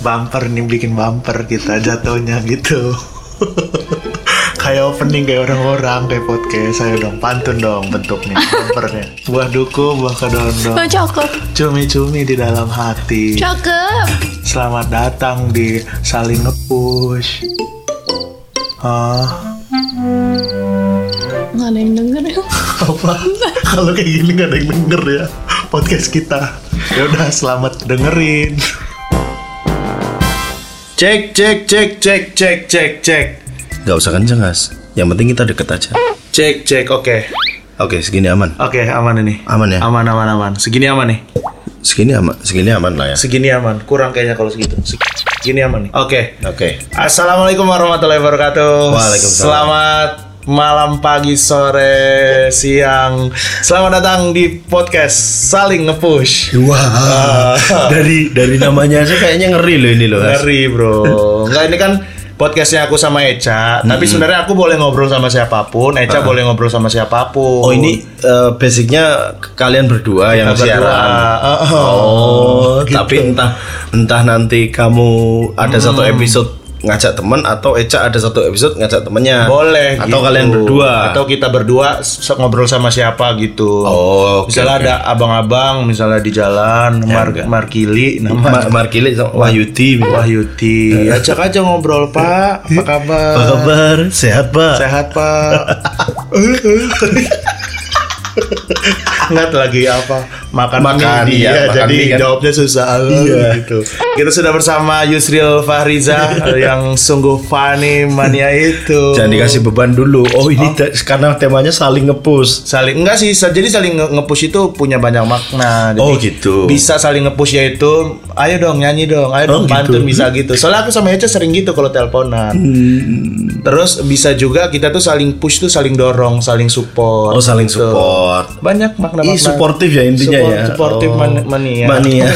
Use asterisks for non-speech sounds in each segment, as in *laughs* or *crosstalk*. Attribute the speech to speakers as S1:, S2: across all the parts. S1: bumper nih bikin bumper kita jatuhnya gitu *laughs* kayak opening kayak orang-orang kayak podcast saya dong pantun dong bentuknya bumpernya buah duku buah kedondong
S2: Oh, cakep.
S1: cumi-cumi di dalam hati
S2: Cakep.
S1: selamat datang di saling ngepush ah
S2: Nggak ada yang denger ya.
S1: apa *laughs* kalau kayak gini nggak ada yang denger ya podcast kita ya udah selamat dengerin cek cek cek cek cek cek cek
S3: Gak usah kenceng as Yang penting kita deket aja
S1: cek cek oke
S3: Oke segini aman
S1: oke aman ini
S3: Aman ya?
S1: aman aman aman segini aman nih
S3: Segini aman Segini aman lah ya
S1: segini aman kurang kayaknya kalau segitu segini aman nih oke
S3: Oke
S1: assalamualaikum warahmatullahi wabarakatuh
S3: Waalaikumsalam.
S1: selamat malam pagi sore siang selamat datang di podcast saling ngepush
S3: Wah Dari dari namanya aja kayaknya Ah. ngeri loh ini loh as.
S1: Ngeri bro Enggak ini kan podcastnya aku sama Eca Tapi sebenarnya aku boleh ngobrol sama siapapun Eca boleh ngobrol sama siapapun
S3: Ah. Oh ini eh, basicnya kalian berdua Ah, yang
S1: Kita berdua.
S3: siaran
S1: Oh,
S3: Oh
S1: gitu.
S3: tapi entah entah nanti kamu ada satu episode ngajak teman atau Eca ada satu episode ngajak temennya
S1: Boleh
S3: atau
S1: gitu.
S3: kalian berdua
S1: Atau kita berdua s- ngobrol sama siapa gitu
S3: Oh, oke,
S1: Misalnya
S3: oke. Ya,
S1: ada abang-abang Misalnya di jalan Mar
S3: enggak.
S1: Markili nama Oh,
S3: Ma- Markili sama Wahyudi
S1: Wahyuti Ajak aja ngobrol pak Apa kabar?
S3: Iya. Apa kabar? Sehat pak?
S1: Sehat
S3: *laughs*
S1: pak Ngat lagi apa makan
S3: Makan,
S1: mie dia
S3: iya, makan Iya.
S1: jadi
S3: mie kan.
S1: jawabnya susah gitu. Kita sudah bersama Yusril
S3: *laughs*
S1: Fahriza yang sungguh funny mania itu.
S3: Jangan dikasih beban dulu. Oh ini te- karena temanya saling ngepush.
S1: saling enggak sih sa- jadi saling nge- nge-push itu punya banyak makna Jadi
S3: Oh, gitu.
S1: bisa saling nge-push yaitu ayo dong nyanyi dong ayo
S3: Oh,
S1: dong
S3: gitu.
S1: pantun bisa gitu soalnya aku sama Eca sering gitu kalau teleponan
S3: Hmm.
S1: terus bisa juga kita tuh saling push tuh saling dorong saling support
S3: Oh saling
S1: gitu.
S3: support.
S1: banyak makna
S3: Ih
S1: makna
S3: suportif ya intinya ya.
S1: supportif
S3: Oh.
S1: man- mania
S3: Mania.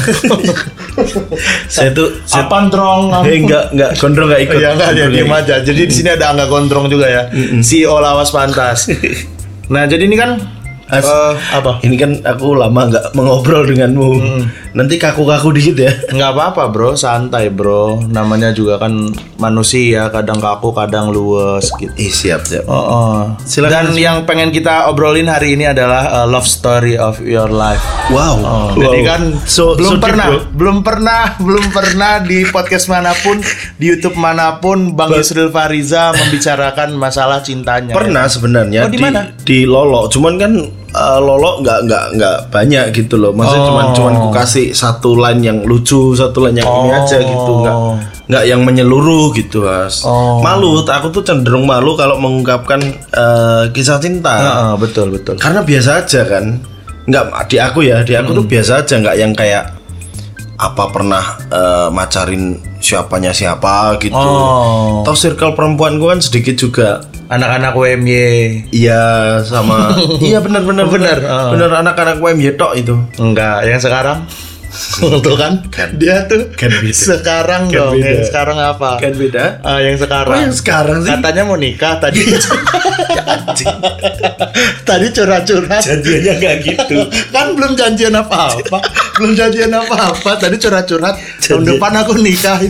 S1: *laughs*
S3: saya tuh saya
S1: apa ndrong
S3: *laughs* eh, enggak enggak gondrong enggak ikut.
S1: ya Ah. enggak dia
S3: Gondrong
S1: diem
S3: enggak
S1: aja. Jadi di sini ada Angga Gondrong juga ya. CEO Lawas
S3: *laughs*
S1: Pantas. nah, jadi ini kan
S3: As-
S1: eh, apa? Hmm.
S3: ikut. Ini kan aku lama enggak mengobrol denganmu. Nanti kaku-kaku dikit ya.
S1: Nggak apa-apa bro, santai bro. Namanya juga kan manusia, kadang kaku, kadang luwes gitu.
S3: Ih siap siap.
S1: Oh, oh. Dan yang pengen kita obrolin hari ini adalah uh, love story of your life.
S3: Wow.
S1: Oh,
S3: Wow.
S1: Jadi kan
S3: So- so
S1: belum
S3: deep,
S1: pernah,
S3: bro.
S1: belum pernah, belum pernah di podcast manapun, di YouTube manapun, Bang Yusril Fariza membicarakan masalah cintanya. ya.
S3: Pernah sebenarnya
S1: Oh, di
S3: di,
S1: mana?
S3: di Lolo, cuman kan eh, Lolo nggak nggak nggak banyak gitu loh. Maksudnya
S1: Oh.
S3: cuman cuman ku kasih satu line yang lucu, satu line yang ini
S1: Oh.
S3: aja gitu, nggak nggak yang menyeluruh gitu as.
S1: Oh.
S3: Malu, aku tuh cenderung malu kalau mengungkapkan eh, kisah cinta,
S1: Heeh, betul betul.
S3: karena biasa aja kan. Nggak di aku ya, di aku tuh
S1: Hmm.
S3: biasa aja, nggak yang kayak apa pernah eh, macarin siapanya siapa gitu.
S1: Oh.
S3: Atau circle perempuan gua kan sedikit juga.
S1: Anak-anak WMY.
S3: Iya *laughs* sama iya benar benar benar
S1: Heeh.
S3: benar anak-anak UMY ya, tok itu
S1: Enggak, yang sekarang
S3: Iya,
S1: *laughs* tuh kan dia tuh
S3: Kan beda.
S1: sekarang
S3: Kan
S1: dong
S3: beda.
S1: yang sekarang apa
S3: Kan beda.
S1: Ah, yang sekarang
S3: Oh, yang sekarang sih?
S1: katanya mau nikah tadi
S3: *laughs*
S1: *laughs* tadi curhat-curhat
S3: *laughs* jadinya nggak gitu
S1: kan belum janjian apa-apa belum janjian apa-apa tadi curhat-curhat tahun depan aku nikah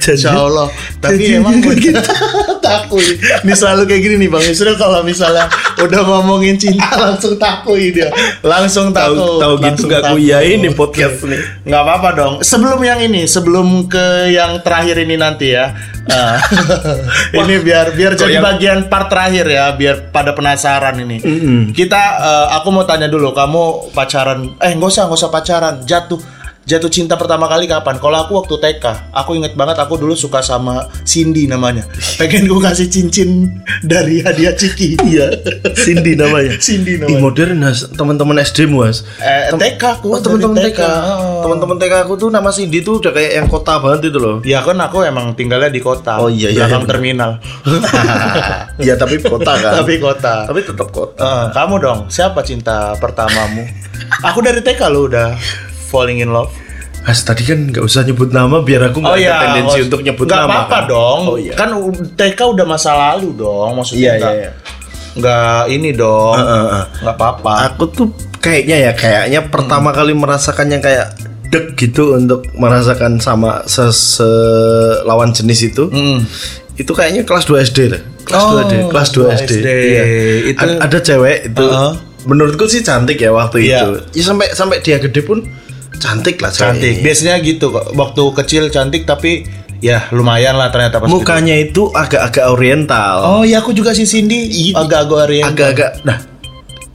S1: Insya Allah tapi emang
S3: gitu.
S1: bener. *laughs* takut ini selalu kayak gini nih Bang Yusril kalau misalnya udah ngomongin cinta *laughs* langsung takui dia langsung
S3: tahu
S1: takut
S3: tahu gitu
S1: Langsung
S3: nggak
S1: takut.
S3: kuyain nih podcast nih
S1: nggak apa-apa dong sebelum yang ini sebelum ke yang terakhir ini nanti ya Ah.
S3: *laughs*
S1: ini biar biar
S3: Kok
S1: jadi
S3: yang-
S1: bagian part terakhir ya biar pada penasaran ini kita eh, aku mau tanya dulu kamu pacaran eh nggak usah nggak usah pacaran jatuh jatuh cinta pertama kali kapan kalau aku waktu TK aku inget banget aku dulu suka sama Cindy
S3: *laughs*
S1: namanya pengen gue kasih cincin dari hadiah ciki iya
S3: *laughs* Cindy namanya
S1: Cindy
S3: Ih,
S1: namanya
S3: modern mas teman-teman SD mu mas
S1: eh, TK aku dari
S3: Oh, teman-teman TK
S1: Heeh.
S3: teman-teman TK aku tuh nama Cindy tuh udah kayak yang kota banget itu *laughs* loh
S1: Ya kan aku emang tinggalnya di kota.
S3: Oh, iya, iya,
S1: belakang
S3: iya, bener. *laughs*
S1: terminal.
S3: Iya tapi kota kan
S1: Tapi kota.
S3: tapi tetap kota
S1: Eh, kamu dong, siapa cinta pertamamu? aku dari TK lo udah falling in love.
S3: Mas tadi kan nggak usah nyebut nama biar aku nggak ada tendensi
S1: nggak-
S3: untuk nyebut
S1: nggak
S3: nama
S1: apa-apa
S3: kan.
S1: dong.
S3: oh iya
S1: Kan u- TK udah masa lalu dong,
S3: iya
S1: maksudnya
S3: iya
S1: nggak
S3: iya.
S1: nggak ini dong.
S3: Eh, eh, eh.
S1: Nggak apa-apa. Hmm.
S3: aku tuh kayaknya ya kayaknya pertama kali merasakan yang kayak deg gitu untuk merasakan sama se se- lawan jenis itu itu kayaknya kelas 2 SD deh kelas
S1: Hmm. Oh,
S3: 2 SD kelas 2 SD,
S1: SD.
S3: Iya.
S1: Itu-
S3: Ad- ada cewek itu
S1: Uh-uh.
S3: menurutku sih cantik ya
S1: Iya.
S3: waktu itu ya sampai sampai dia gede pun cantik lah cewek
S1: Cantik.
S3: ini.
S1: Biasanya gitu kok. Waktu kecil cantik tapi ya lumayan lah ternyata pas gitu. gede.
S3: mukanya itu agak-agak oriental
S1: Oh iya aku juga si Cindy
S3: Iya.
S1: agak-agak Oriental.
S3: agak-agak nah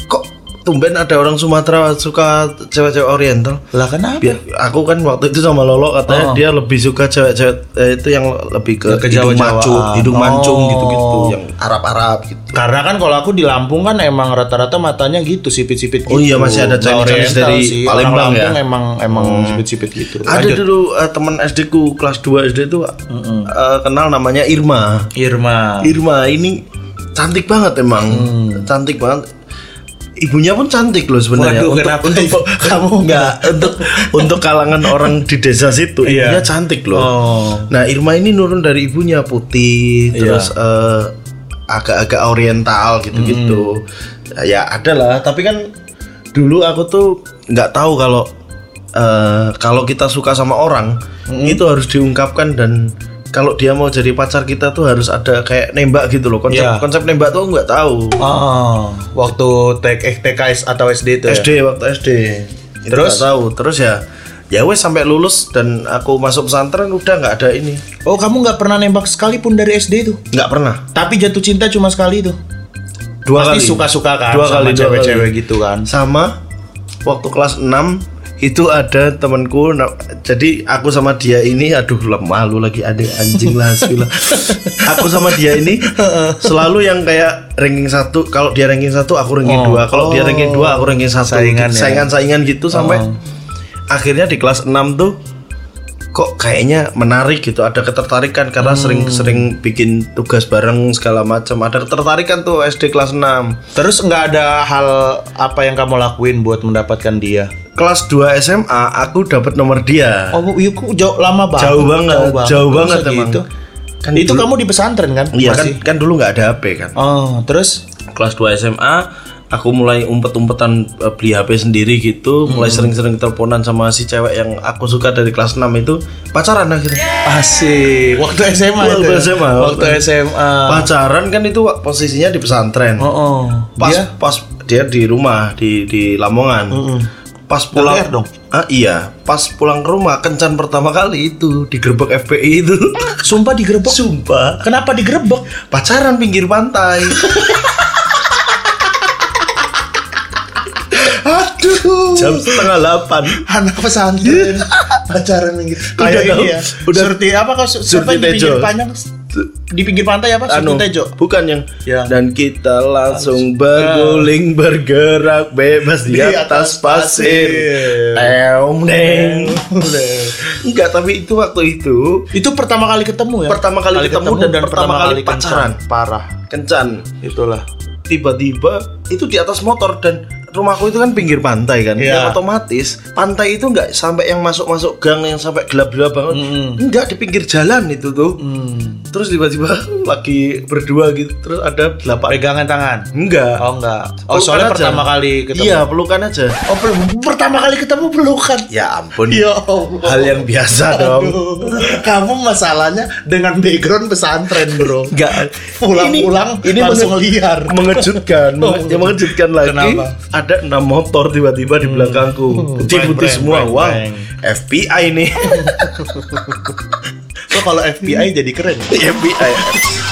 S3: kok tumben ada orang Sumatera suka cewek-cewek oriental
S1: Lah kenapa?
S3: Biar, aku kan waktu itu sama Lolo katanya
S1: Oh.
S3: dia lebih suka cewek-cewek eh, itu yang lebih
S1: Yang
S3: ke,
S1: ke
S3: hidung
S1: Jawa-Jawaan.
S3: mancung, hidung mancung
S1: Oh.
S3: gitu-gitu, yang Arab-Arab gitu.
S1: Karena kan kalau aku di Lampung kan emang rata-rata matanya gitu sipit-sipit gitu.
S3: Oh iya, masih ada
S1: Nggak
S3: Chinese-Chinese
S1: oriental
S3: dari
S1: sih.
S3: Palembang
S1: Orang Lampung
S3: ya?
S1: emang emang sipit-sipit gitu.
S3: Ada
S1: Lanjut.
S3: dulu eh, teman SD ku kelas 2 SD itu eh, kenal namanya Irma.
S1: Irma.
S3: Irma ini cantik banget emang,
S1: Hmm.
S3: cantik banget. Ibunya pun cantik loh sebenarnya.
S1: Waduh,
S3: Untuk,
S1: kenapa
S3: untuk
S1: ibu?
S3: kamu enggak untuk untuk kalangan orang di desa situ
S1: Iya.
S3: ibunya cantik loh.
S1: Oh.
S3: Nah Irma ini nurun dari ibunya
S1: Iya.
S3: putih, terus eh, agak-agak oriental gitu-gitu.
S1: Hmm.
S3: Ya ada lah, tapi kan dulu aku tuh nggak tahu kalau eh, kalau kita suka sama orang
S1: Hmm.
S3: itu harus diungkapkan dan kalau dia mau jadi pacar kita tuh harus ada kayak nembak gitu loh konsep
S1: Iya.
S3: konsep nembak tuh aku nggak tahu
S1: Oh, waktu TK eh, TK atau SD itu ya?
S3: SD waktu SD Itu
S1: Terus?
S3: nggak tahu terus ya ya wes sampai lulus dan aku masuk pesantren udah nggak ada ini
S1: Oh, kamu nggak pernah nembak sekalipun dari SD itu?
S3: nggak pernah
S1: Tapi jatuh cinta cuma sekali itu.
S3: dua
S1: Pasti
S3: kali
S1: suka-suka kan
S3: dua
S1: sama
S3: kali dua
S1: cewek-cewek
S3: kali.
S1: gitu kan.
S3: sama waktu kelas 6 itu ada temanku na- jadi aku sama dia ini aduh lah, malu lagi adik
S1: *laughs*
S3: anjing lah sila aku sama dia ini selalu yang kayak ranking satu kalau dia ranking satu aku ranking
S1: Oh.
S3: dua kalau dia ranking dua aku ranking satu
S1: Saingan ya.
S3: saingan saingan gitu sampai
S1: Oh.
S3: akhirnya di kelas 6 tuh kok kayaknya menarik gitu ada ketertarikan karena
S1: Hmm.
S3: sering-sering bikin tugas bareng segala macam ada ketertarikan tuh SD kelas 6
S1: Terus nggak ada hal apa yang kamu lakuin buat mendapatkan dia?
S3: kelas 2 SMA aku dapat nomor dia.
S1: Oh, iya, kok jauh lama banget.
S3: jauh banget, jauh banget,
S1: Masa
S3: emang.
S1: gitu?
S3: Kan
S1: itu
S3: dulu-
S1: kamu di pesantren kan?
S3: Iya kan,
S1: Masih?
S3: kan dulu nggak ada HP kan.
S1: Oh, terus
S3: Kelas 2 SMA aku mulai umpet-umpetan eh, beli HP sendiri gitu, mulai sering-sering teleponan sama si cewek yang aku suka dari kelas 6 itu pacaran akhirnya.
S1: asik. Waktu SMA
S3: Waktu
S1: itu. ya?
S3: SMA,
S1: Waktu
S3: waktu-
S1: SMA.
S3: Pacaran kan itu wa- posisinya di pesantren.
S1: Oh, oh.
S3: Pas
S1: Dia?
S3: pas dia di rumah di di Lamongan. Pas pulang
S1: LDR dong?
S3: Ah, iya, pas pulang ke rumah kencan pertama kali itu di gerbek FPI *laughs* itu.
S1: Sumpah digerebek.
S3: Sumpah.
S1: Kenapa digerebek?
S3: pacaran pinggir pantai.
S1: Aduh.
S3: *laughs* Jam setengah delapan.
S1: anak pesantren pacaran gitu kayak
S3: Udah
S1: ini
S3: tahu.
S1: ya
S3: Udah.
S1: surti apa kok su- siapa
S3: Surti
S1: di pinggir
S3: Tejo.
S1: panjang di pinggir pantai apa surti
S3: Anu,
S1: tejo
S3: bukan yang
S1: Ya.
S3: dan kita langsung berguling bergerak bebas di,
S1: Di
S3: atas
S1: atas
S3: pasir.
S1: pasir.
S3: Teong deng. Enggak, tapi itu waktu itu
S1: itu pertama kali ketemu ya
S3: Pertama kali ketemu dan pertama kali pacaran.
S1: kencan. parah
S3: kencan.
S1: itulah
S3: Tiba-tiba itu di atas motor dan rumahku itu kan pinggir pantai kan.
S1: Ya.
S3: Ya, otomatis pantai itu nggak sampai yang masuk-masuk gang yang sampai gelap-gelap banget. Enggak di pinggir jalan itu tuh.
S1: Mm.
S3: Terus tiba-tiba *laughs* lagi berdua gitu. Terus ada delapan
S1: pegangan tangan
S3: Enggak.
S1: oh enggak oh
S3: Pelukan
S1: soalnya
S3: aja.
S1: pertama kali ketemu
S3: Iya, pelukan aja.
S1: oh pel- pertama kali ketemu pelukan
S3: Ya ampun.
S1: ya Allah
S3: Hal yang biasa dong.
S1: Aduh, kamu masalahnya dengan background pesantren bro
S3: Enggak.
S1: pulang-pulang
S3: Ini- ini
S1: langsung
S3: menge-
S1: liar
S3: Mengejutkan,
S1: *laughs* Oh.
S3: menge- yang mengejutkan lagi
S1: Kenapa? Hmm.
S3: ada enam motor tiba-tiba di belakangku. Putih-putih
S1: Breng,
S3: semua.
S1: breng,
S3: Wah,
S1: breng.
S3: FBI nih. *laughs*
S1: so kalau FBI jadi keren
S3: FBI.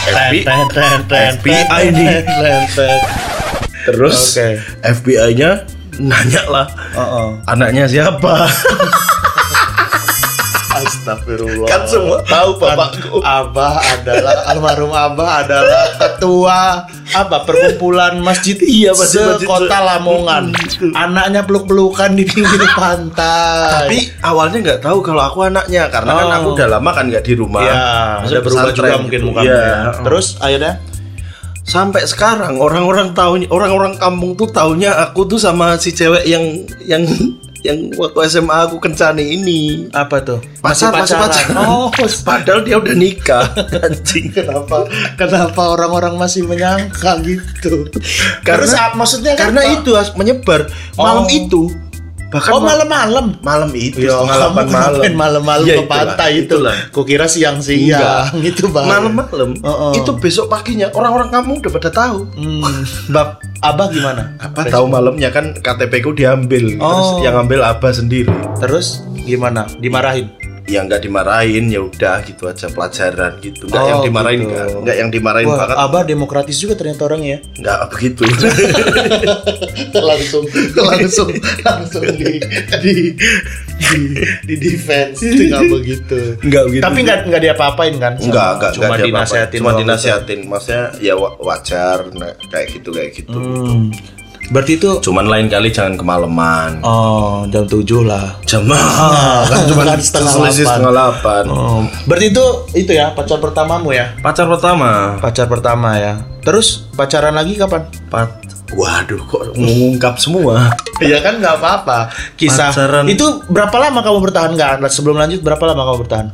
S3: FBI.
S1: FBI
S3: nih. Terus
S1: Oke.
S3: FBI-nya nanya lah. Anaknya siapa?
S1: Astagfirullah.
S3: Kan semua tahu
S1: Kan
S3: bapakku.
S1: Abah adalah almarhum Abah adalah ketua apa perkumpulan masjid
S3: Iya, Hmm. masjid- masjid.
S1: sekota Lamongan. Anaknya peluk-pelukan di pinggir pantai.
S3: tapi awalnya nggak tahu kalau aku anaknya karena kan
S1: Oh.
S3: aku udah lama kan nggak di rumah
S1: ya,
S3: Maksudnya
S1: udah berubah
S3: pesantren
S1: juga
S3: gitu.
S1: mungkin
S3: Iya.
S1: mukanya. Terus akhirnya
S3: sampai sekarang orang-orang tahunya orang-orang kampung tuh taunya aku tuh sama si cewek yang yang yang waktu SMA aku kencani ini
S1: apa tuh?
S3: Pacar, masih
S1: *laughs*
S3: pacaran.
S1: Oh,
S3: padahal dia udah nikah *laughs* anjing
S1: kenapa kenapa orang-orang masih menyangka gitu?
S3: Karena-
S1: Terus, ah, maksudnya kan,
S3: karena
S1: Pak,
S3: itu as- menyebar malam
S1: Oh.
S3: itu bahkan
S1: Oh
S3: mal-
S1: malam-malam.
S3: malam itu
S1: Ya,
S3: Iya, setengah
S1: kamu
S3: delapan *laughs* malam
S1: ngapain *laughs* malam-malam
S3: Ya,
S1: ke
S3: itulah,
S1: pantai itu.
S3: itulah.
S1: Kukira *laughs* siang-siang itu bang.
S3: malam-malam
S1: Oh, oh.
S3: itu besok paginya orang-orang kamu udah pada tahu
S1: Hmm.
S3: bab
S1: Abah gimana?
S3: apa tahu malamnya kan KTP ku diambil terus
S1: Oh.
S3: yang ambil abah sendiri
S1: Terus gimana? Dimarahin?
S3: ya nggak dimarahin ya udah gitu aja pelajaran gitu nggak
S1: Oh,
S3: yang dimarahin
S1: gitu.
S3: nggak nggak yang dimarahin
S1: Wah,
S3: banget
S1: Abah demokratis juga ternyata *laughs* orangnya ya.
S3: nggak begitu *laughs*
S1: langsung langsung langsung di di di, di defense itu nggak begitu.
S3: nggak begitu
S1: Tapi nggak nggak diapa-apain kan? sama-
S3: nggak nggak
S1: Cuma
S3: nggak dia apa-apa.
S1: dinasehatin.
S3: cuma
S1: doang.
S3: dinasihatin maksudnya ya wa- wajar nah, kayak gitu kayak gitu
S1: Hmm. Berarti itu
S3: cuman lain kali jangan kemalaman
S1: oh jam 7 lah.
S3: jam ah, kan cuma
S1: Kan setengah delapan.
S3: selisih setengah delapan
S1: Oh, berarti itu itu ya pacar pertamamu ya?
S3: pacar pertama
S1: Pacar pertama ya. Terus pacaran lagi kapan?
S3: pat waduh kok mengungkap semua
S1: Ya kan nggak apa-apa. Kisah
S3: Pacaran.
S1: itu berapa lama kamu bertahan nggak? Sebelum lanjut berapa lama kamu bertahan?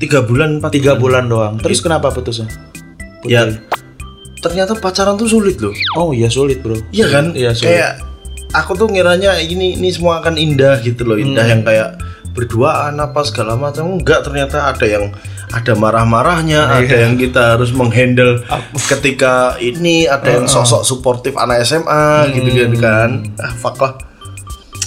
S3: tiga bulan empat
S1: Tiga bulan Iya. doang. Terus kenapa putusnya? Putus.
S3: ya ternyata pacaran tuh sulit loh
S1: Oh iya sulit bro.
S3: Iya kan?
S1: Iya sulit.
S3: kayak aku tuh ngiranya ini ini semua akan indah gitu loh, indah
S1: Hmm.
S3: yang kayak berduaan apa segala macam. Enggak, ternyata ada yang ada
S1: Iya.
S3: marah-marahnya, ada yang kita harus menghandle ketika ini, ada yang sosok suportif anak SMA gitu
S1: Hmm.
S3: gitu kan. Ah, fuck lah.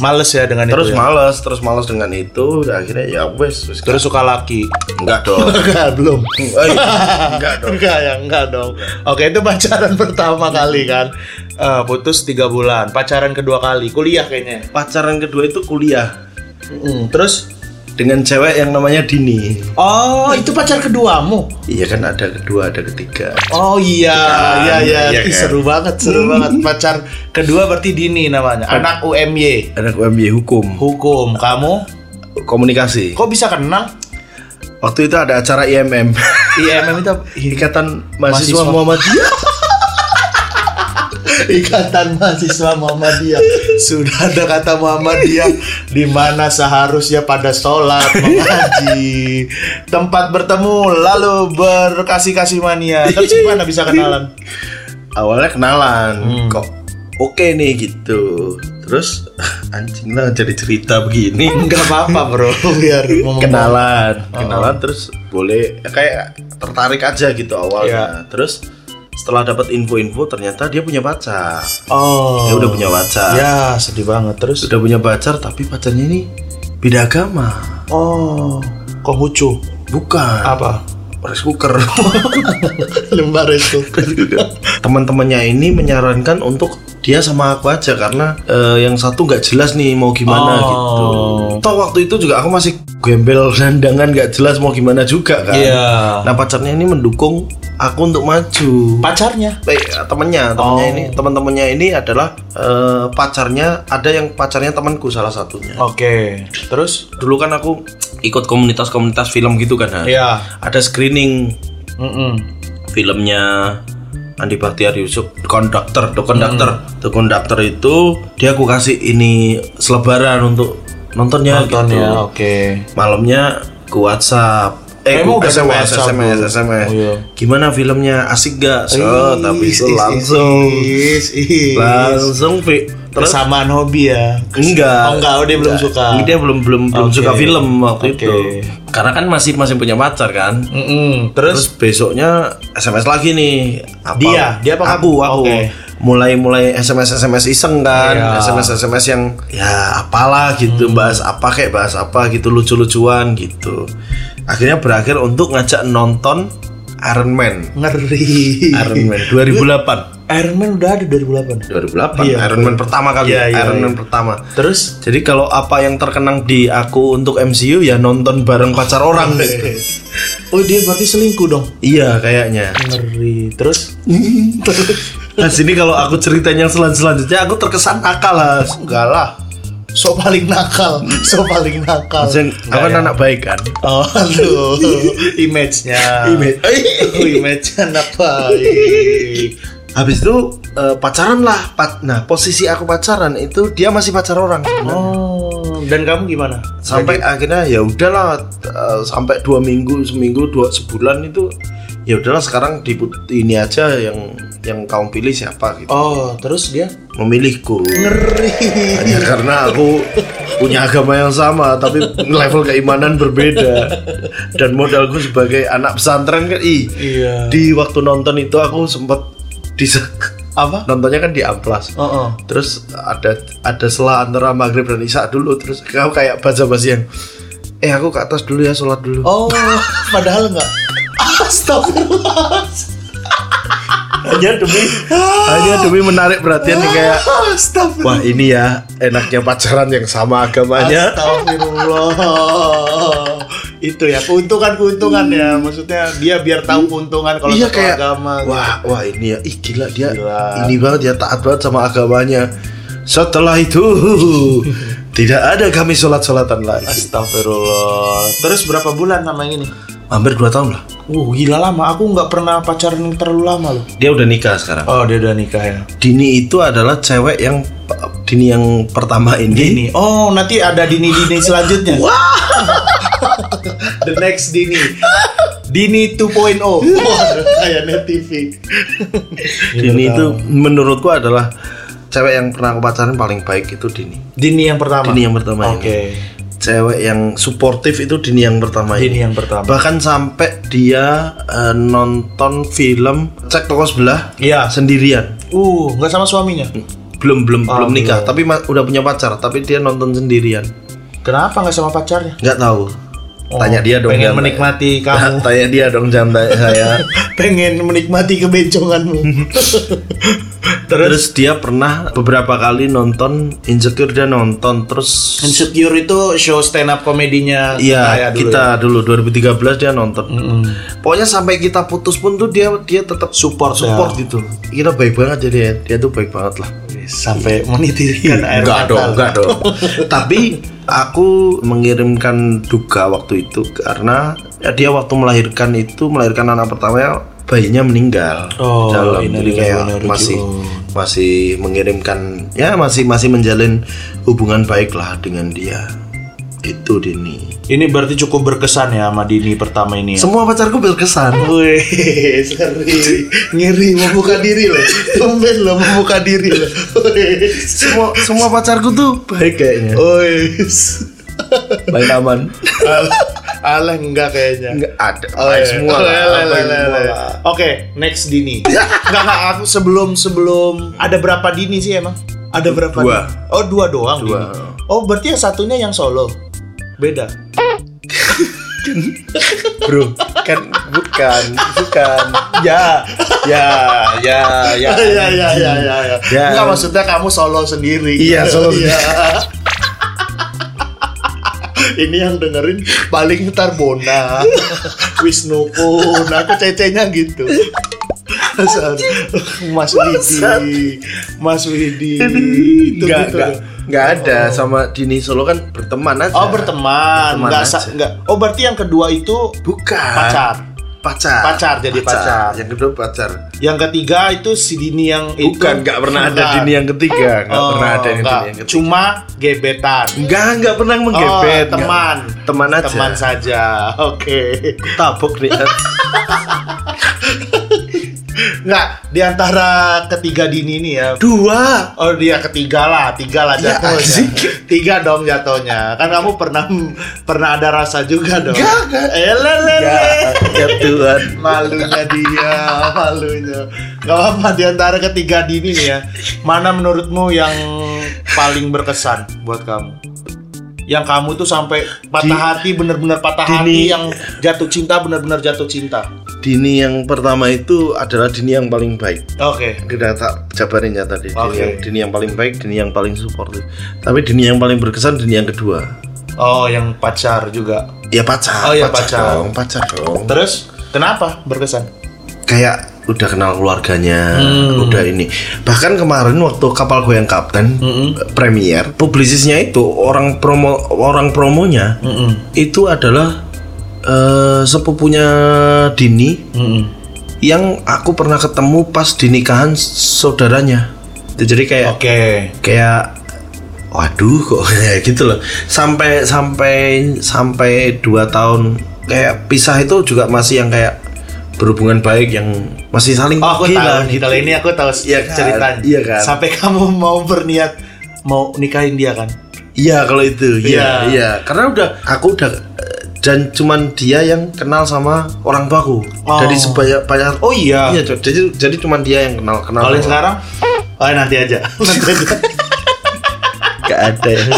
S1: Males ya dengan
S3: Terus
S1: itu. ya?
S3: males, terus males dengan itu, ya akhirnya ya wes, wes.
S1: Terus suka laki.
S3: enggak dong.
S1: *laughs* Enggak belum.
S3: Eh, enggak dong.
S1: Enggak ya, enggak dong. Oke, itu pacaran *laughs* pertama kali kan. Eh, putus tiga bulan. Pacaran kedua kali, kuliah kayaknya.
S3: Pacaran kedua itu kuliah
S1: Mm, Terus
S3: dengan cewek yang namanya Dini.
S1: Oh, itu pacar keduamu.
S3: Iya kan ada kedua, ada ketiga.
S1: Oh iya, iya iya,
S3: iya
S1: Ih,
S3: kan?
S1: seru banget, seru *laughs* banget. Pacar kedua berarti Dini namanya, anak UMY.
S3: anak UMY hukum
S1: Hukum, kamu
S3: komunikasi
S1: kok bisa kenal
S3: waktu itu ada acara IMM
S1: IMM itu apa?
S3: *laughs* ikatan mahasiswa,
S1: Mahasiswa.
S3: Muhammadiyah
S1: *laughs* Ikatan Mahasiswa Muhammadiyah sudah ada kata Muhammadiyah di mana seharusnya pada sholat *laughs* mengaji tempat bertemu lalu berkasih kasih mania terus gimana bisa kenalan
S3: awalnya kenalan
S1: Hmm.
S3: kok oke nih gitu terus *laughs* anjing lah jadi cerita begini
S1: *laughs* nggak apa apa bro biar ngomong- Oh.
S3: kenalan kenalan terus boleh ya kayak tertarik aja gitu
S1: Iya.
S3: awalnya terus setelah dapat info-info ternyata dia punya pacar
S1: oh
S3: dia udah punya pacar
S1: ya sedih banget terus
S3: sudah punya pacar tapi pacarnya ini beda agama
S1: oh kok lucu
S3: bukan
S1: apa
S3: rice cooker
S1: *laughs*
S3: *laughs*
S1: lembar itu
S3: teman-temannya ini menyarankan untuk dia sama aku aja karena eh, yang satu nggak jelas nih mau gimana
S1: Oh.
S3: gitu. Toh waktu itu juga aku masih gembel *laughs* randangan nggak jelas mau gimana juga kan.
S1: iya
S3: Nah pacarnya ini mendukung aku untuk maju.
S1: pacarnya
S3: Eh, temennya, temennya
S1: Oh.
S3: ini, teman-temannya ini adalah eh, pacarnya ada yang pacarnya temanku salah satunya.
S1: oke terus
S3: Dulu kan aku ikut komunitas-komunitas film gitu kan. Han.
S1: iya
S3: Ada screening
S1: Mm-mm.
S3: filmnya Andi Bahtiar Yusuf konduktor The
S1: Hmm.
S3: Conductor The Conductor itu dia aku kasih ini selebaran untuk nontonnya
S1: Nonton
S3: gitu
S1: ya, oke.
S3: malamnya ke WhatsApp eh
S1: Emang
S3: ku
S1: udah ada
S3: SMS
S1: WhatsApp
S3: SMS
S1: dulu?
S3: SMS
S1: Oh, iya.
S3: gimana filmnya asik gak so, tapi itu langsung
S1: is, is.
S3: langsung fi- terus
S1: Persamaan hobi ya.
S3: enggak
S1: Oh enggak, oh, dia belum suka.
S3: dia belum belum belum
S1: Oke.
S3: suka film
S1: Oke.
S3: waktu itu karena kan masih masih punya pacar kan
S1: Mm-mm. Terus,
S3: Terus besoknya SMS lagi nih. Apa?
S1: Dia? Dia apa kamu?
S3: aku? Aku.
S1: Oke.
S3: Mulai-mulai SMS SMS iseng kan,
S1: Iya. Hmm.
S3: SMS SMS yang ya apalah gitu, bahas apa kayak bahas apa gitu lucu-lucuan gitu. Akhirnya berakhir untuk ngajak nonton Iron Man.
S1: ngeri.
S3: Iron Man 2008.
S1: Iron Man udah ada 2008.
S3: 2008
S1: Iya.
S3: Iron Man pertama kali.
S1: Iya, iya,
S3: Iron Man
S1: iya.
S3: pertama.
S1: Terus
S3: Jadi kalau apa yang terkenang di aku untuk MCU ya nonton bareng pacar *laughs* orang.
S1: *laughs* Oh, dia berarti selingkuh dong.
S3: iya kayaknya.
S1: Ngeri. Terus
S3: Nah sini kalau aku ceritanya selan selanjutnya aku terkesan akal lah. Enggak lah.
S1: so paling nakal, so paling nakal. ya?
S3: Maksudnya aku kan anak baik kan.
S1: Oh, aduh,
S3: *laughs*
S1: image-nya. Oh, *laughs* image-nya anak baik.
S3: Habis itu eh, pacaran lah. Pat- nah posisi aku pacaran itu dia masih pacar orang.
S1: Oh, dan kamu gimana?
S3: Sampai akhirnya ya udahlah eh, sampai dua minggu seminggu dua sebulan itu ya udahlah sekarang di ini aja yang yang kamu pilih siapa gitu.
S1: Oh, terus dia
S3: Memilihku.
S1: ngeri.
S3: Hanya Ya, karena aku punya agama yang sama tapi level keimanan berbeda dan modalku sebagai anak pesantren kan ih
S1: Iya.
S3: di waktu nonton itu aku sempat di
S1: Apa?
S3: *laughs* nontonnya kan di amplas
S1: Oh, oh.
S3: terus ada ada selah antara maghrib dan isya dulu terus kau kayak baca basi yang eh aku ke atas dulu ya sholat dulu
S1: Oh, padahal enggak. Astagfirullah.
S3: hanya demi *laughs* hanya demi menarik perhatian yang kayak
S1: Astagfirullah.
S3: wah ini ya enaknya pacaran yang sama agamanya
S1: Astagfirullah. Itu ya keuntungan-keuntungan ya. Maksudnya dia biar tahu keuntungan kalau
S3: iya
S1: satu
S3: kayak
S1: agama. gitu.
S3: wah wah ini ya ih gila dia
S1: Gila.
S3: ini banget ya taat banget sama agamanya setelah itu *laughs* tidak ada kami sholat sholatan lagi
S1: Astagfirullah. Terus berapa bulan sama yang ini?
S3: hampir 2 tahun lah
S1: Uh, gila lama. Aku nggak pernah pacaran terlalu lama loh.
S3: dia udah nikah sekarang
S1: Oh, dia udah nikah ya.
S3: Dini itu adalah cewek yang Dini yang pertama ini
S1: Dini. Oh, nanti ada Dini-Dini selanjutnya. Wah. *laughs* The next Dini. Dini 2.0. Waduh, Kayak net TV.
S3: Dini itu menurutku adalah cewek yang pernah aku pacaran paling baik itu Dini
S1: Dini yang pertama.
S3: Dini yang pertama ya. ini.
S1: Oke.
S3: cewek yang suportif itu Dini yang pertama
S1: Dini
S3: ini
S1: yang pertama.
S3: bahkan sampai dia eh, nonton film cek toko sebelah
S1: Iya.
S3: sendirian
S1: Uh, nggak sama suaminya.
S3: Hmm. belum belum
S1: Oh,
S3: belum nikah
S1: belum.
S3: tapi ma- udah punya pacar tapi dia nonton sendirian
S1: Kenapa nggak sama pacarnya?
S3: nggak tahu Oh, tanya dia
S1: Oh,
S3: dong
S1: Pengen
S3: jangan *laughs*
S1: menikmati
S3: tanya.
S1: kamu.
S3: tanya dia dong jangan tanya saya
S1: pengen menikmati
S3: *laughs*
S1: kebenconganmu. *laughs* Terus
S3: terus dia pernah beberapa kali nonton insecure dia nonton terus
S1: Insecure itu show stand up komedinya
S3: Iya,
S1: dulu ya. Hmm.
S3: kita dulu 2013 dia nonton. Pokoknya sampai kita putus pun tuh dia dia
S1: Ya.
S3: tetap support support gitu. Kita baik banget jadi ya. dia tuh baik banget lah.
S1: ya. sampai menitikkan air mata. *laughs*
S3: dong. Tapi aku mengirimkan duka waktu itu karena dia waktu melahirkan itu melahirkan anak pertamanya bayinya meninggal
S1: Oh,
S3: di dalam
S1: innalillahi
S3: jadi kayak
S1: wa inna ilaihi
S3: masih
S1: raji'un.
S3: masih mengirimkan ya masih masih menjalin hubungan baik lah dengan dia itu Dini
S1: Ini berarti cukup berkesan ya sama Dini pertama ini. Ya?
S3: semua pacarku berkesan
S1: Wih, ngeri, ngeri membuka diri loh, tumben loh membuka diri loh.
S3: semua semua pacarku tuh baik kayaknya
S1: Oh, Ois,
S3: baik aman
S1: alah enggak kayaknya.
S3: nggak ada
S1: Oh,
S3: baik
S1: iya.
S3: semua
S1: Oh,
S3: lah,
S1: iya, iya,
S3: baik
S1: iya, iya.
S3: semua lah.
S1: Oke, next Dini. Enggak enggak aku sebelum sebelum ada berapa Dini sih emang? Ada berapa?
S3: Dua.
S1: Dini? Oh, dua doang
S3: Dua.
S1: Dini. Oh, berarti yang satunya yang solo. Beda.
S3: bro kan bukan bukan ya ya ya ya
S1: *laughs* Iya, iya, iya, iya, iya.
S3: Ya.
S1: Enggak maksudnya kamu solo sendiri.
S3: Iya, solo
S1: Iya. *laughs* Ini yang dengerin paling ntar Bona, *laughs* Wisnu Kun, aku cecenya gitu. Mas Widi, Mas Widi, Itu
S3: nggak
S1: gitu.
S3: nggak nggak ada sama Dini Solo kan berteman aja
S1: Oh berteman,
S3: Berteman
S1: nggak sa-
S3: aja. Ah.
S1: nggak. Oh berarti yang kedua itu
S3: bukan
S1: pacar.
S3: pacar
S1: Pacar, jadi pacar.
S3: yang kedua pacar
S1: Yang ketiga itu si Dini yang itu.
S3: bukan nggak pernah ada
S1: Bukan.
S3: Dini yang ketiga nggak
S1: Oh,
S3: pernah ada yang
S1: nggak.
S3: Dini yang ketiga
S1: Cuma gebetan.
S3: nggak nggak pernah menggebet
S1: Oh,
S3: nggak.
S1: teman.
S3: teman aja
S1: Teman saja. *laughs* Oke.
S3: tabok nih
S1: Nggak, di antara ketiga Dini ini ya.
S3: dua
S1: Oh dia ketiga lah, tiga lah
S3: Ya,
S1: jatuhnya.
S3: anjing.
S1: tiga dong jatuhnya. Kan kamu pernah pernah ada rasa juga dong. Eh,
S3: Nggak, nggak.
S1: Elelele.
S3: ya Tuhan
S1: malunya dia malunya nggak apa-apa di antara ketiga dini nih ya mana menurutmu yang paling berkesan buat kamu yang kamu tuh sampai patah
S3: Di-
S1: hati bener-bener patah
S3: Dini-
S1: hati yang jatuh cinta bener-bener jatuh cinta
S3: Dini yang pertama itu adalah Dini yang paling baik
S1: oke
S3: kita tak jabarin ya tadi Dini,
S1: Oke.
S3: yang, Dini yang paling baik Dini yang paling suportif tapi Dini yang paling berkesan Dini yang kedua
S1: oh yang pacar juga
S3: ya pacar
S1: Oh, ya, pacar.
S3: dong pacar dong
S1: terus kenapa berkesan
S3: kayak udah kenal keluarganya
S1: Hmm.
S3: udah ini bahkan kemarin waktu kapal goyang kapten premier publisisnya itu orang promo orang promonya itu adalah eh, sepupunya Dini yang aku pernah ketemu pas di nikahan saudaranya. Jadi kayak
S1: oke
S3: kayak waduh kok *laughs* kayak gitu loh. Sampai sampai sampai dua tahun kayak pisah itu juga masih yang kayak berhubungan baik yang masih saling
S1: Oh, aku
S3: pergi
S1: tahu
S3: lah
S1: nih.
S3: gitu.
S1: Kalau ini aku tahu
S3: Iya kan?
S1: ceritanya.
S3: Iya kan?
S1: Sampai kamu mau berniat mau nikahin dia kan?
S3: Iya kalau itu, iya
S1: Iya.
S3: iya. Karena udah aku udah eh, dan cuman dia yang kenal sama orang tuaku
S1: Oh.
S3: dari sebanyak banyak.
S1: Oh iya.
S3: Iya, jadi jadi cuman dia yang kenal kenal.
S1: Kalau yang sekarang, oh nanti aja. *laughs* Nanti aja.
S3: gak ada. *laughs* ya.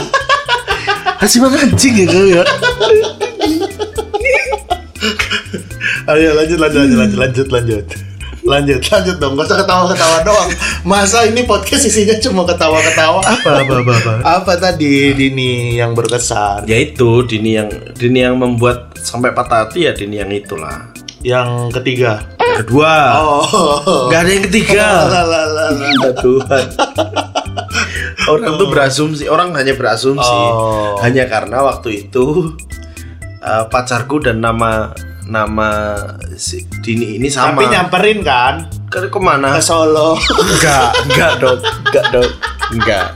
S3: Kasih banget anjing ya kau
S1: *laughs*
S3: ya.
S1: Ayo Oh, iya, lanjut lanjut lanjut lanjut lanjut lanjut. Lanjut lanjut dong. Gak usah ketawa-ketawa doang. Masa ini podcast isinya cuma ketawa-ketawa?
S3: Apa apa apa. apa.
S1: Apa tadi Dini yang berkesan?
S3: Ya itu Dini yang Dini yang membuat sampai patah hati ya Dini yang itulah.
S1: Yang ketiga.
S3: Yang kedua.
S1: Oh.
S3: Gak ada yang ketiga.
S1: *laughs*
S3: Minta Tuhan. *laughs* orang tuh berasumsi, orang hanya berasumsi.
S1: Oh.
S3: Hanya karena waktu itu eh, pacarku dan nama nama si Dini ini sama.
S1: Tapi nyamperin kan
S3: Ke- kemana?
S1: ke Solo.
S3: Enggak, enggak dong, enggak dong, enggak,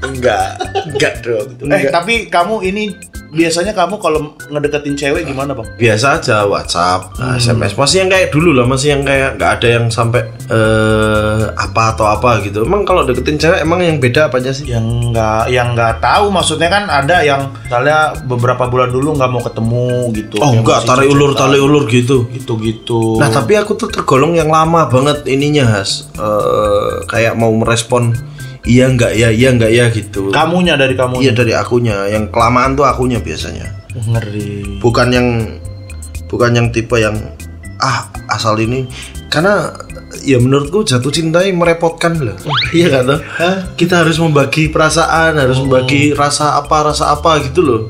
S3: enggak, enggak dong.
S1: Eh
S3: Enggak.
S1: tapi kamu ini biasanya kamu kalau ngedeketin cewek gimana bang?
S3: biasa aja WhatsApp, nah, SMS masih yang kayak dulu lah, masih yang kayak nggak ada yang sampai eh apa atau apa gitu. Emang kalau deketin cewek emang yang beda apanya sih?
S1: Yang nggak yang nggak tahu maksudnya kan ada yang misalnya beberapa bulan dulu nggak mau ketemu gitu.
S3: Oh enggak, tarik ulur, tarik ulur gitu.
S1: gitu-gitu.
S3: Nah tapi aku tuh tergolong yang lama banget ininya Has Eh, Kayak mau merespon Iya enggak ya, iya enggak ya gitu
S1: kamunya dari kamu
S3: Iya dari akunya, yang kelamaan tuh akunya biasanya
S1: ngeri.
S3: Bukan yang Bukan yang tipe yang Ah asal ini Karena ya menurutku jatuh cintai merepotkan
S1: *laughs*
S3: loh Iya kan tuh Kita harus membagi perasaan
S1: Oh.
S3: Harus membagi rasa apa, rasa apa gitu loh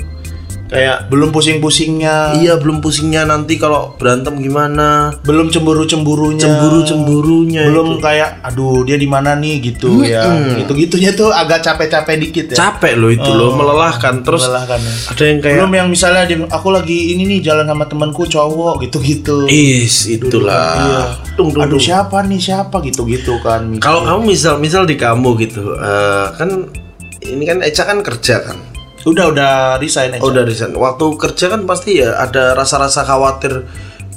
S3: Kayak
S1: Belum pusing-pusingnya,
S3: Iya belum pusingnya nanti kalau berantem gimana
S1: belum cemburu-cemburunya,
S3: Cemburu-cemburunya
S1: Ya. belum kayak aduh dia di mana nih gitu ya. Gitu-gitunya tuh agak capek-capek dikit ya.
S3: capek loh itu loh melelahkan terus
S1: Melelahkan ya.
S3: ada yang kayak
S1: Belum yang misalnya dia, aku lagi ini nih jalan sama temanku cowok gitu-gitu.
S3: is itulah
S1: Iya.
S3: Dung, dung,
S1: Aduh
S3: dung.
S1: siapa nih siapa gitu-gitu kan. mikir.
S3: kalau kamu misal misal di kamu gitu eh, kan ini kan Eca kan kerja kan
S1: udah udah resign aja.
S3: oh dari sana waktu kerja kan pasti ya ada rasa-rasa khawatir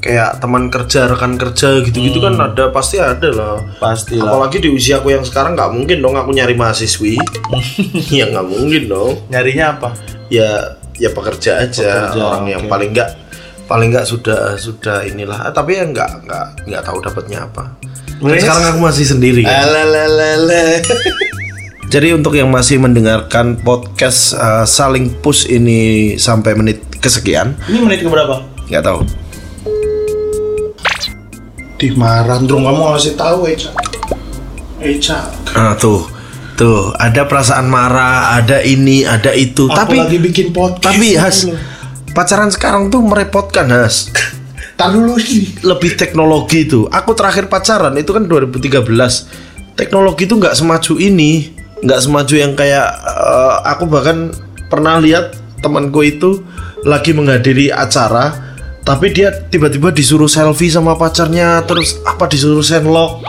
S3: kayak teman kerja rekan kerja gitu-gitu kan ada pasti ada lah
S1: Hmm. Pasti lah.
S3: apalagi di usia aku yang sekarang nggak mungkin dong aku nyari
S1: *laughs*
S3: mahasiswi ya nggak mungkin dong
S1: Nyarinya apa?
S3: ya ya pekerja aja
S1: Pekerja,
S3: orang yang
S1: oke.
S3: paling nggak paling nggak sudah sudah inilah Ah, tapi ya nggak nggak nggak tahu dapatnya apa Kan
S1: Wes. Eh.
S3: sekarang aku masih sendiri
S1: Iya.
S3: kan.
S1: Alalala.
S3: jadi untuk yang masih mendengarkan podcast eh, saling push ini sampai menit kesekian
S1: Ini menit ke berapa?
S3: nggak tahu
S1: Di Marandrung kamu ngasih tahu Eca. Eca.
S3: Ah, tuh tuh ada perasaan marah ada ini ada itu
S1: Aku
S3: tapi
S1: lagi bikin podcast.
S3: tapi Has pacaran sekarang tuh merepotkan Has
S1: Tar dulu ini.
S3: lebih teknologi itu. Aku terakhir pacaran itu kan 2013. Teknologi itu nggak semaju ini, nggak semaju yang kayak eh, aku bahkan pernah lihat temanku itu lagi menghadiri acara, tapi dia tiba-tiba disuruh selfie sama pacarnya, terus apa disuruh sendok,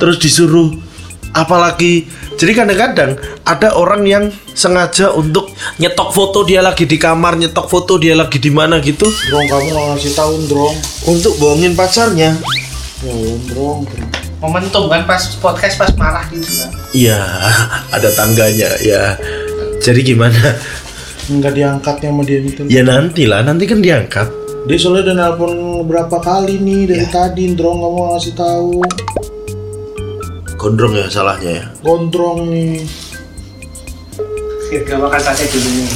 S3: terus disuruh apalagi. Jadi kadang-kadang ada orang yang sengaja untuk nyetok foto dia lagi di kamar, nyetok foto dia lagi di mana gitu
S1: Drong kamu nggak ngasih tahu Drong.
S3: untuk bohongin pacarnya.
S1: Ya Allah, Drong.
S4: momentum kan pas podcast pas marah gitu kan
S3: Iya, *laughs* ada tangganya ya. Jadi gimana? *laughs*
S1: Enggak diangkatnya sama dia itu.
S3: Ya nantilah, nanti kan diangkat.
S1: Dia soalnya udah nelpon berapa kali nih dari
S3: Ya.
S1: tadi Drong kamu nggak ngasih tahu.
S3: Gondrong ya salahnya ya.
S1: Gondrong nih.
S4: gak bakal selesai dulu nih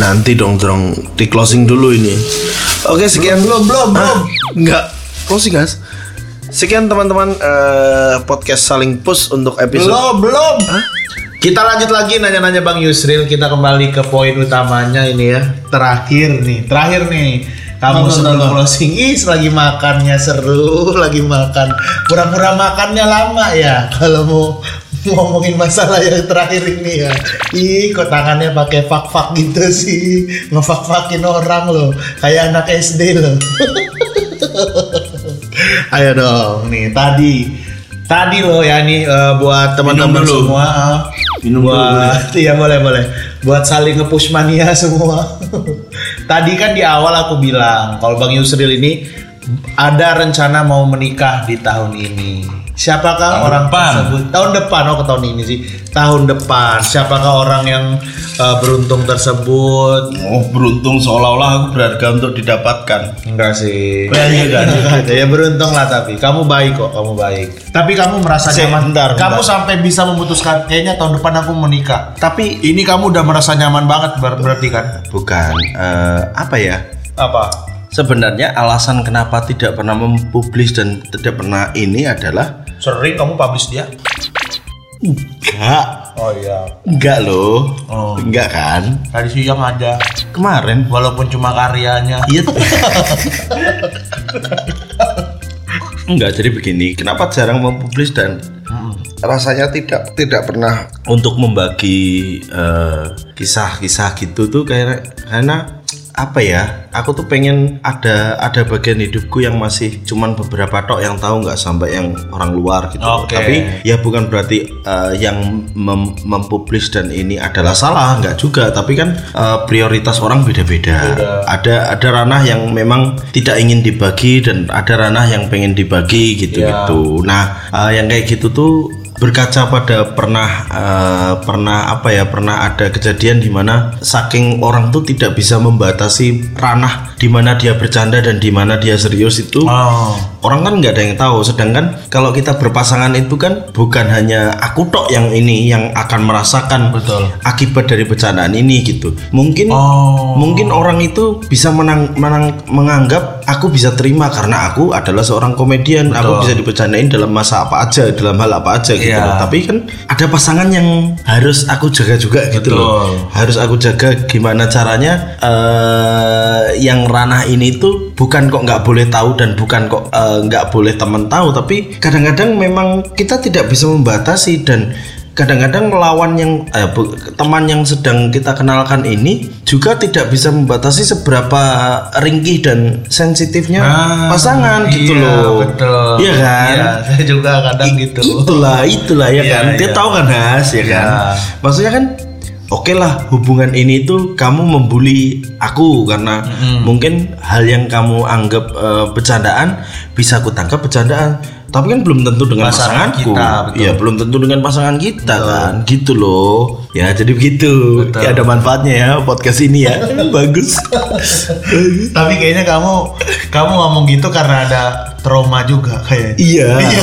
S3: Nanti dong, drong di closing dulu ini. Oke, sekian belum belum belum. Enggak. Closing, guys. Sekian teman-teman eh, podcast saling push untuk episode
S1: Belum, belum. Kita lanjut lagi nanya-nanya Bang Yusril. Kita kembali ke poin utamanya ini ya. Terakhir nih, terakhir nih. Kamu sebelum closing is lagi makannya seru, lagi makan. Pura-pura makannya lama ya. Kalau mau ngomongin masalah yang terakhir ini ya. Ih, kok tangannya pakai fak-fak gitu sih. Ngefak-fakin orang loh. Kayak anak SD loh. Ayo dong, nih tadi tadi loh ya nih eh, buat teman-teman
S3: Minum dulu.
S1: semua. ah.
S3: Minum dulu,
S1: buat *laughs* iya boleh boleh. Buat saling ngepush mania *laughs* semua. tadi kan di awal aku bilang kalau Bang Yusril ini ada rencana mau menikah di tahun ini. Siapakah
S5: Tahun
S1: orang
S5: depan.
S1: tersebut? Tahun depan, oh ke tahun ini sih. Tahun depan, siapakah orang yang eh, beruntung tersebut?
S3: Oh beruntung seolah-olah aku berharga untuk didapatkan.
S1: Enggak sih.
S3: Bayangin kan?
S1: Enggak ada, ya beruntung lah tapi kamu baik kok kamu baik tapi kamu merasa
S3: Sih,
S1: nyaman
S3: bentar,
S1: kamu
S3: bentar.
S1: sampai bisa memutuskan kayaknya tahun depan aku menikah tapi ini kamu udah merasa nyaman banget ber- berarti kan
S3: Bukan eh, apa ya?
S1: apa
S3: Sebenarnya alasan kenapa tidak pernah mempublis dan tidak pernah ini adalah
S1: sering kamu publish dia
S3: enggak,
S1: oh iya
S3: enggak loh,
S1: Oh.
S3: enggak kan?
S1: tadi siang ada
S3: Kemarin
S1: walaupun cuma karyanya
S3: Iya. *laughs* Enggak, jadi begini. Kenapa jarang mempublis dan rasanya tidak tidak pernah untuk membagi eh, kisah-kisah gitu tuh kayak karena apa ya? Aku tuh pengen ada ada bagian hidupku yang masih cuman beberapa tok yang tahu nggak sampai yang orang luar gitu.
S1: Oke.
S3: Tapi ya bukan berarti eh, yang mem- mempublis dan ini adalah salah nggak juga tapi kan eh, prioritas orang beda-beda ada ada ranah yang memang tidak ingin dibagi dan ada ranah yang pengen dibagi gitu gitu nah eh, yang kayak gitu tuh berkaca pada pernah eh, pernah apa ya pernah ada kejadian di mana saking orang tuh tidak bisa membatasi ranah di mana dia bercanda dan di mana dia serius itu
S1: oh
S3: orang kan nggak ada yang tahu sedangkan kalau kita berpasangan itu kan bukan hanya aku tok yang ini yang akan merasakan
S1: Betul.
S3: akibat dari bercandaan ini gitu mungkin
S1: Oh.
S3: mungkin orang itu bisa menang, menang- menganggap aku bisa terima karena aku adalah seorang komedian aku bisa dibercandain dalam masa apa aja dalam hal apa aja gitu
S1: Iya.
S3: loh. tapi kan ada pasangan yang harus aku jaga juga
S1: Betul.
S3: gitu loh harus aku jaga gimana caranya eh yang ranah ini tuh bukan kok nggak boleh tahu dan bukan kok eh, nggak boleh teman tahu tapi kadang-kadang memang kita tidak bisa membatasi dan kadang-kadang lawan yang eh, bu- teman yang sedang kita kenalkan ini juga tidak bisa membatasi seberapa ringkih dan sensitifnya
S1: Ah,
S3: pasangan gitu
S1: iya,
S3: loh
S1: betul
S3: iya kan
S1: Iya, saya juga kadang
S3: I-
S1: gitu
S3: Itulah, itulah ya
S1: Iya,
S3: kan. Dia
S1: iya.
S3: tahu kan Has ya kan.
S1: Iya.
S3: Maksudnya kan Oke lah hubungan ini tuh kamu membuli aku karena mungkin hal yang kamu anggap eh, bercandaan bisa aku tangkap bercandaan tapi kan belum tentu dengan
S1: Pasangan
S3: pasanganku
S1: kita, betul.
S3: ya belum tentu dengan pasangan kita kan gitu loh ya jadi begitu Ya, ada manfaatnya ya podcast
S1: *laughs*
S3: ini ya bagus
S1: tapi kayaknya kamu kamu ngomong gitu karena ada trauma juga kayaknya
S3: iya iya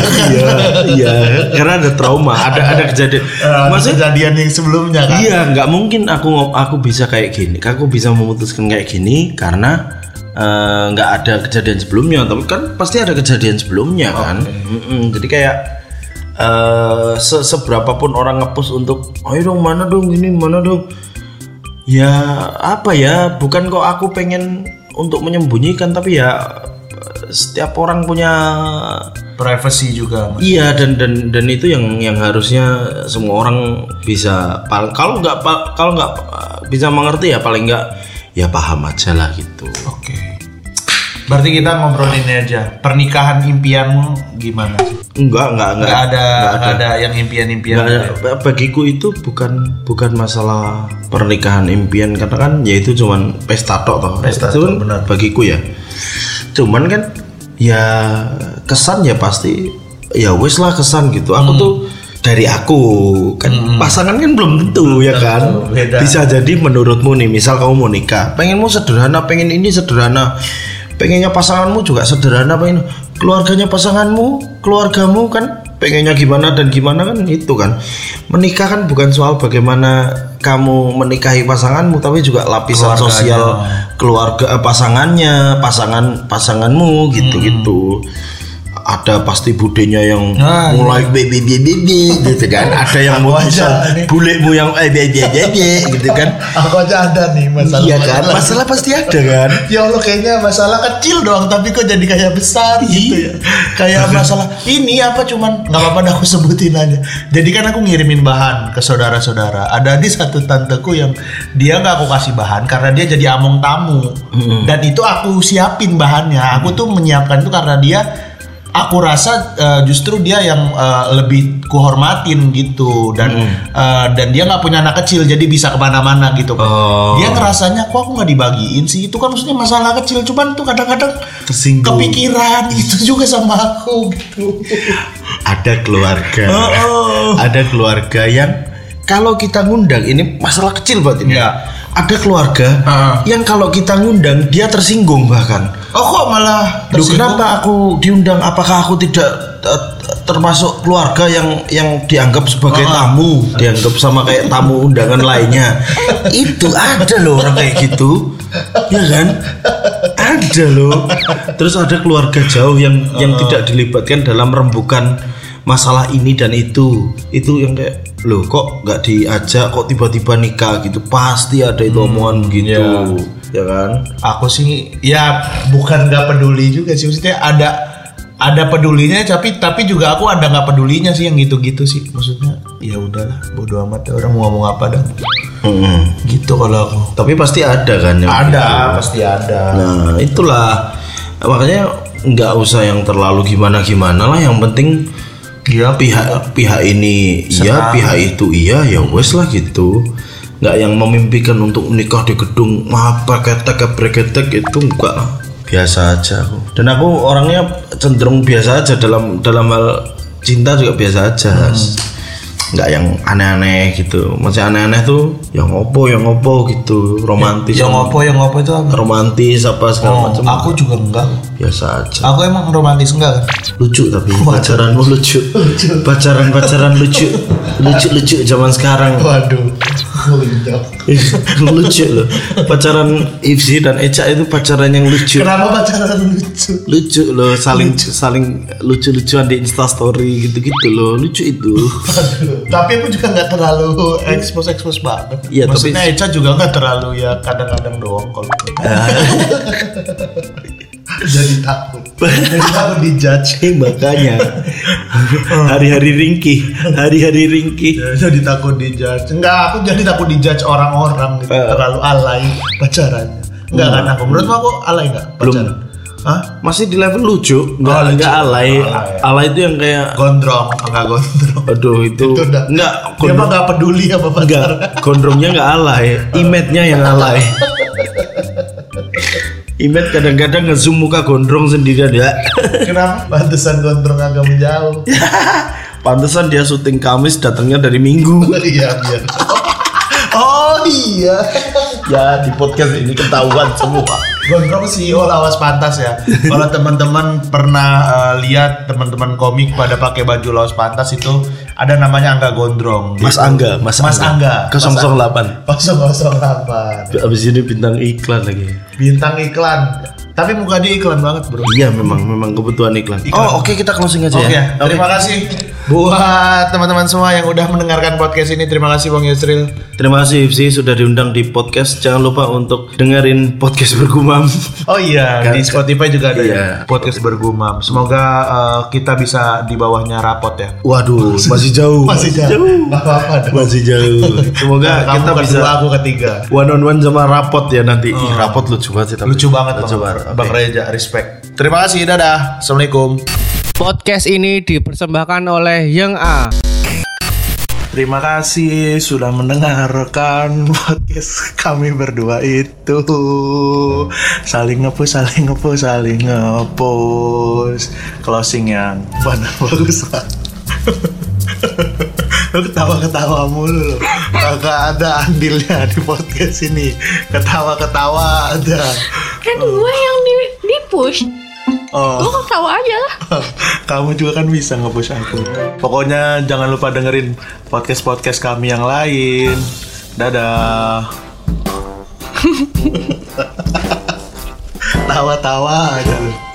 S3: iya karena ada trauma ada ada kejadian
S1: Eh,
S3: maksudnya
S1: kejadian yang sebelumnya kan
S3: Iya, nggak mungkin aku ngom- aku bisa kayak gini. Aku bisa memutuskan kayak gini karena eh, nggak ada kejadian sebelumnya. Tapi kan pasti ada kejadian sebelumnya kan. Mm-mm, jadi kayak eh se- seberapa pun orang ngepost untuk, ayo dong mana dong ini mana dong. Ya apa ya? Bukan kok aku pengen untuk menyembunyikan, tapi ya eh, setiap orang punya
S1: privacy juga
S3: Iya dan dan dan itu yang yang harusnya semua orang bisa pal- kalau nggak pal- kalau nggak uh, bisa mengerti ya paling nggak ya paham aja lah gitu.
S1: Oke. Berarti kita ngobrolin aja. Pernikahan impianmu gimana?
S3: Enggak enggak enggak
S1: Gak ada, nggak ada yang impian-impian.
S3: Nggak ada. Ba- bagiku itu bukan bukan masalah pernikahan impian karena kan ya itu cuman pesta tok toh.
S1: Pesta tok,
S3: Cuman
S1: benar.
S3: bagiku ya. Cuman kan ya kesan ya pasti ya wes lah kesan gitu.
S1: Hmm.
S3: Aku tuh dari aku kan pasangan kan belum tentu ya kan
S1: beda.
S3: bisa jadi menurutmu nih misal kamu mau nikah pengenmu sederhana pengen ini sederhana pengennya pasanganmu juga sederhana pengen keluarganya pasanganmu keluargamu kan pengennya gimana dan gimana kan itu kan menikah kan bukan soal bagaimana kamu menikahi pasanganmu tapi juga lapisan
S1: Keluarganya.
S3: sosial keluarga eh, pasangannya pasangan pasanganmu gitu gitu ada pasti budenya yang
S1: Ah,
S3: mulai bebe bebe gitu kan ada yang mau
S1: aja, ini.
S3: bulekmu yang eh dia dia dia, dia, gitu kan
S1: Aku aja ada nih masalah.
S3: iya kan masalah pasti ada kan
S1: Ya Allah kayaknya masalah kecil doang tapi kok jadi kayak besar gitu ya. *laughs* Kayak masalah ini apa cuman nggak apa-apa dah aku sebutin aja. Jadi kan aku ngirimin bahan ke saudara-saudara. Ada di satu tanteku yang dia nggak aku kasih bahan karena dia jadi among tamu. Dan itu aku siapin bahannya. Aku tuh menyiapkan itu karena dia aku rasa eh, justru dia yang eh, lebih kuhormatin gitu dan
S5: Hmm.
S1: eh, dan dia nggak punya anak kecil jadi bisa kemana-mana gitu kan
S3: Oh.
S1: dia ngerasanya kok aku nggak dibagiin sih itu kan maksudnya masalah kecil cuman tuh kadang-kadang *laughs*
S3: Tersinggung.
S1: gitu. kepikiran itu juga sama aku gitu
S3: ada keluarga ada keluarga yang kalau kita ngundang ini masalah kecil buat ini
S5: Iya.
S3: ada keluarga
S5: Ah.
S3: yang kalau kita ngundang dia tersinggung bahkan
S5: Oh kok
S3: Loh,
S5: malah tersinggung?
S3: kenapa aku diundang apakah aku tidak eh, termasuk keluarga yang yang dianggap sebagai tamu dianggap sama kayak tamu undangan lainnya itu ada loh orang kayak gitu ya kan ada loh terus ada keluarga jauh yang yang tidak dilibatkan dalam rembukan masalah ini dan itu itu yang kayak loh kok nggak diajak kok tiba-tiba nikah gitu pasti ada itu omongan begitu ya kan
S5: Aku sih ya bukan nggak peduli juga sih maksudnya ada ada pedulinya tapi tapi juga aku ada nggak pedulinya sih yang gitu-gitu sih maksudnya ya udahlah bodo amat ya orang mau ngomong apa dah
S3: Mm-mm.
S5: gitu kalau aku
S3: Tapi pasti ada kan yang
S5: ada pasti ada
S3: gitu. Nah, itulah makanya nggak usah yang terlalu gimana gimana lah. Yang penting
S5: Iya,
S3: pihak pihak ini iya, pihak itu iya, ya wes lah gitu. Nggak yang memimpikan untuk nikah di gedung apa ketek breketek itu enggak biasa aja aku. Dan aku orangnya cenderung biasa aja dalam dalam hal cinta juga biasa aja. nggak yang aneh-aneh gitu masih aneh-aneh tuh yang opo yang opo gitu romantis
S5: yang
S3: sama-
S5: ngopo yang ngopo itu apa?
S3: romantis apa segala
S5: Oh,
S3: macam
S5: aku juga enggak.
S3: biasa aja
S5: Aku emang romantis enggak kan?
S3: lucu tapi
S5: *laughs*
S3: pacaranmu lucu pacaran pacaran lucu lucu lucu zaman sekarang
S5: Waduh.
S3: *laughs* lucu loh pacaran Ifsi dan Eca itu pacaran yang lucu
S5: Kenapa pacaran lucu?
S3: lucu loh saling saling lucu-lucuan di instastory gitu-gitu loh lucu
S5: *laughs*
S3: itu
S5: Aduh, tapi aku juga nggak terlalu expose expose banget.
S3: Iya, tapi-
S5: Maksudnya Eca juga nggak terlalu ya kadang-kadang doang kalau gitu.
S3: *laughs* Ah.
S5: jadi takut. jadi takut dijudge.
S3: eh makanya
S5: Oh.
S3: hari-hari ringkih hari-hari ringkih
S5: Jadi takut dijudge. Enggak, aku jadi takut dijudge orang-orang gitu.
S3: Eh.
S5: Terlalu alay pacarannya. Enggak kan aku. Menurutmu aku alay nggak?
S3: Hmm. Belum.
S5: pacaran? Hah? Ah,
S3: masih di level lucu nggak
S5: lucu. iya.
S3: nggak alay
S5: Alay.
S3: alay itu yang kayak
S5: Gondrong, enggak gondrong.
S3: Aduh itu,
S5: Itu udah.
S3: enggak
S5: Dia mah
S3: gondrong,
S5: nggak peduli apa
S3: enggak
S5: pacaran.
S3: gondrongnya enggak alay, imetnya yang alay. Imet kadang-kadang ngezoom muka gondrong sendirian ya.
S5: Kenapa? Pantesan gondrong agak menjauh.
S3: *laughs* Pantesan dia syuting Kamis datangnya dari Minggu.
S5: Iya, iya.
S3: *laughs*
S5: Oh iya.
S3: Ya di podcast ini ketahuan semua.
S5: Gondrong CEO lawas pantas ya. Kalau teman-teman pernah eh, lihat teman-teman komik pada pakai baju lawas pantas itu ada namanya Angga Gondrong. Gitu.
S3: Mas Angga, Mas,
S5: Mas Angga.
S3: 008.
S5: 008.
S3: Abis ini bintang iklan lagi.
S5: Bintang iklan. Tapi muka dia iklan banget, Bro.
S3: Iya memang memang kebutuhan iklan.
S5: Iklan.
S3: Oh oke kita closing aja
S5: Oke,
S3: ya.
S5: terima kasih buat teman-teman semua yang udah mendengarkan podcast ini. Terima kasih Bang Yusril.
S3: Terima kasih Ifsi sudah diundang di podcast. Jangan lupa untuk dengerin podcast bergumam.
S5: Oh iya,
S3: Kan-
S5: di Spotify juga ada
S3: Iya.
S5: ya. Podcast bergumam. Semoga eh, kita bisa di bawahnya rapot ya.
S3: Waduh, masih jauh.
S5: Gak apa-apa dong.
S3: Masih jauh. Semoga
S5: Kamu
S3: kita
S5: kedua,
S3: bisa
S5: aku ketiga.
S3: one on one sama rapot ya nanti. Ih, rapot lucu banget sih tapi.
S5: Lucu banget
S3: Lucu
S5: Bang,
S3: banget. Oke.
S5: Bang Reja, respect. Terima kasih, dadah. Assalamualaikum.
S4: Podcast ini dipersembahkan oleh Yang A.
S5: Terima kasih sudah mendengarkan *laughs* podcast kami berdua itu. Saling ngepush, saling ngepush, saling ngepush. Closing yang benar bagus. Pak. *laughs* Lu ketawa-ketawa mulu lu. Kagak ada andilnya di podcast ini. Ketawa-ketawa ada.
S2: Kan gue yang di, di push. Lo
S5: Oh,
S2: ketawa aja lah.
S5: kamu juga kan bisa ngepush aku. Pokoknya jangan lupa dengerin podcast-podcast kami yang lain. Dadah. Tawa-tawa aja lu.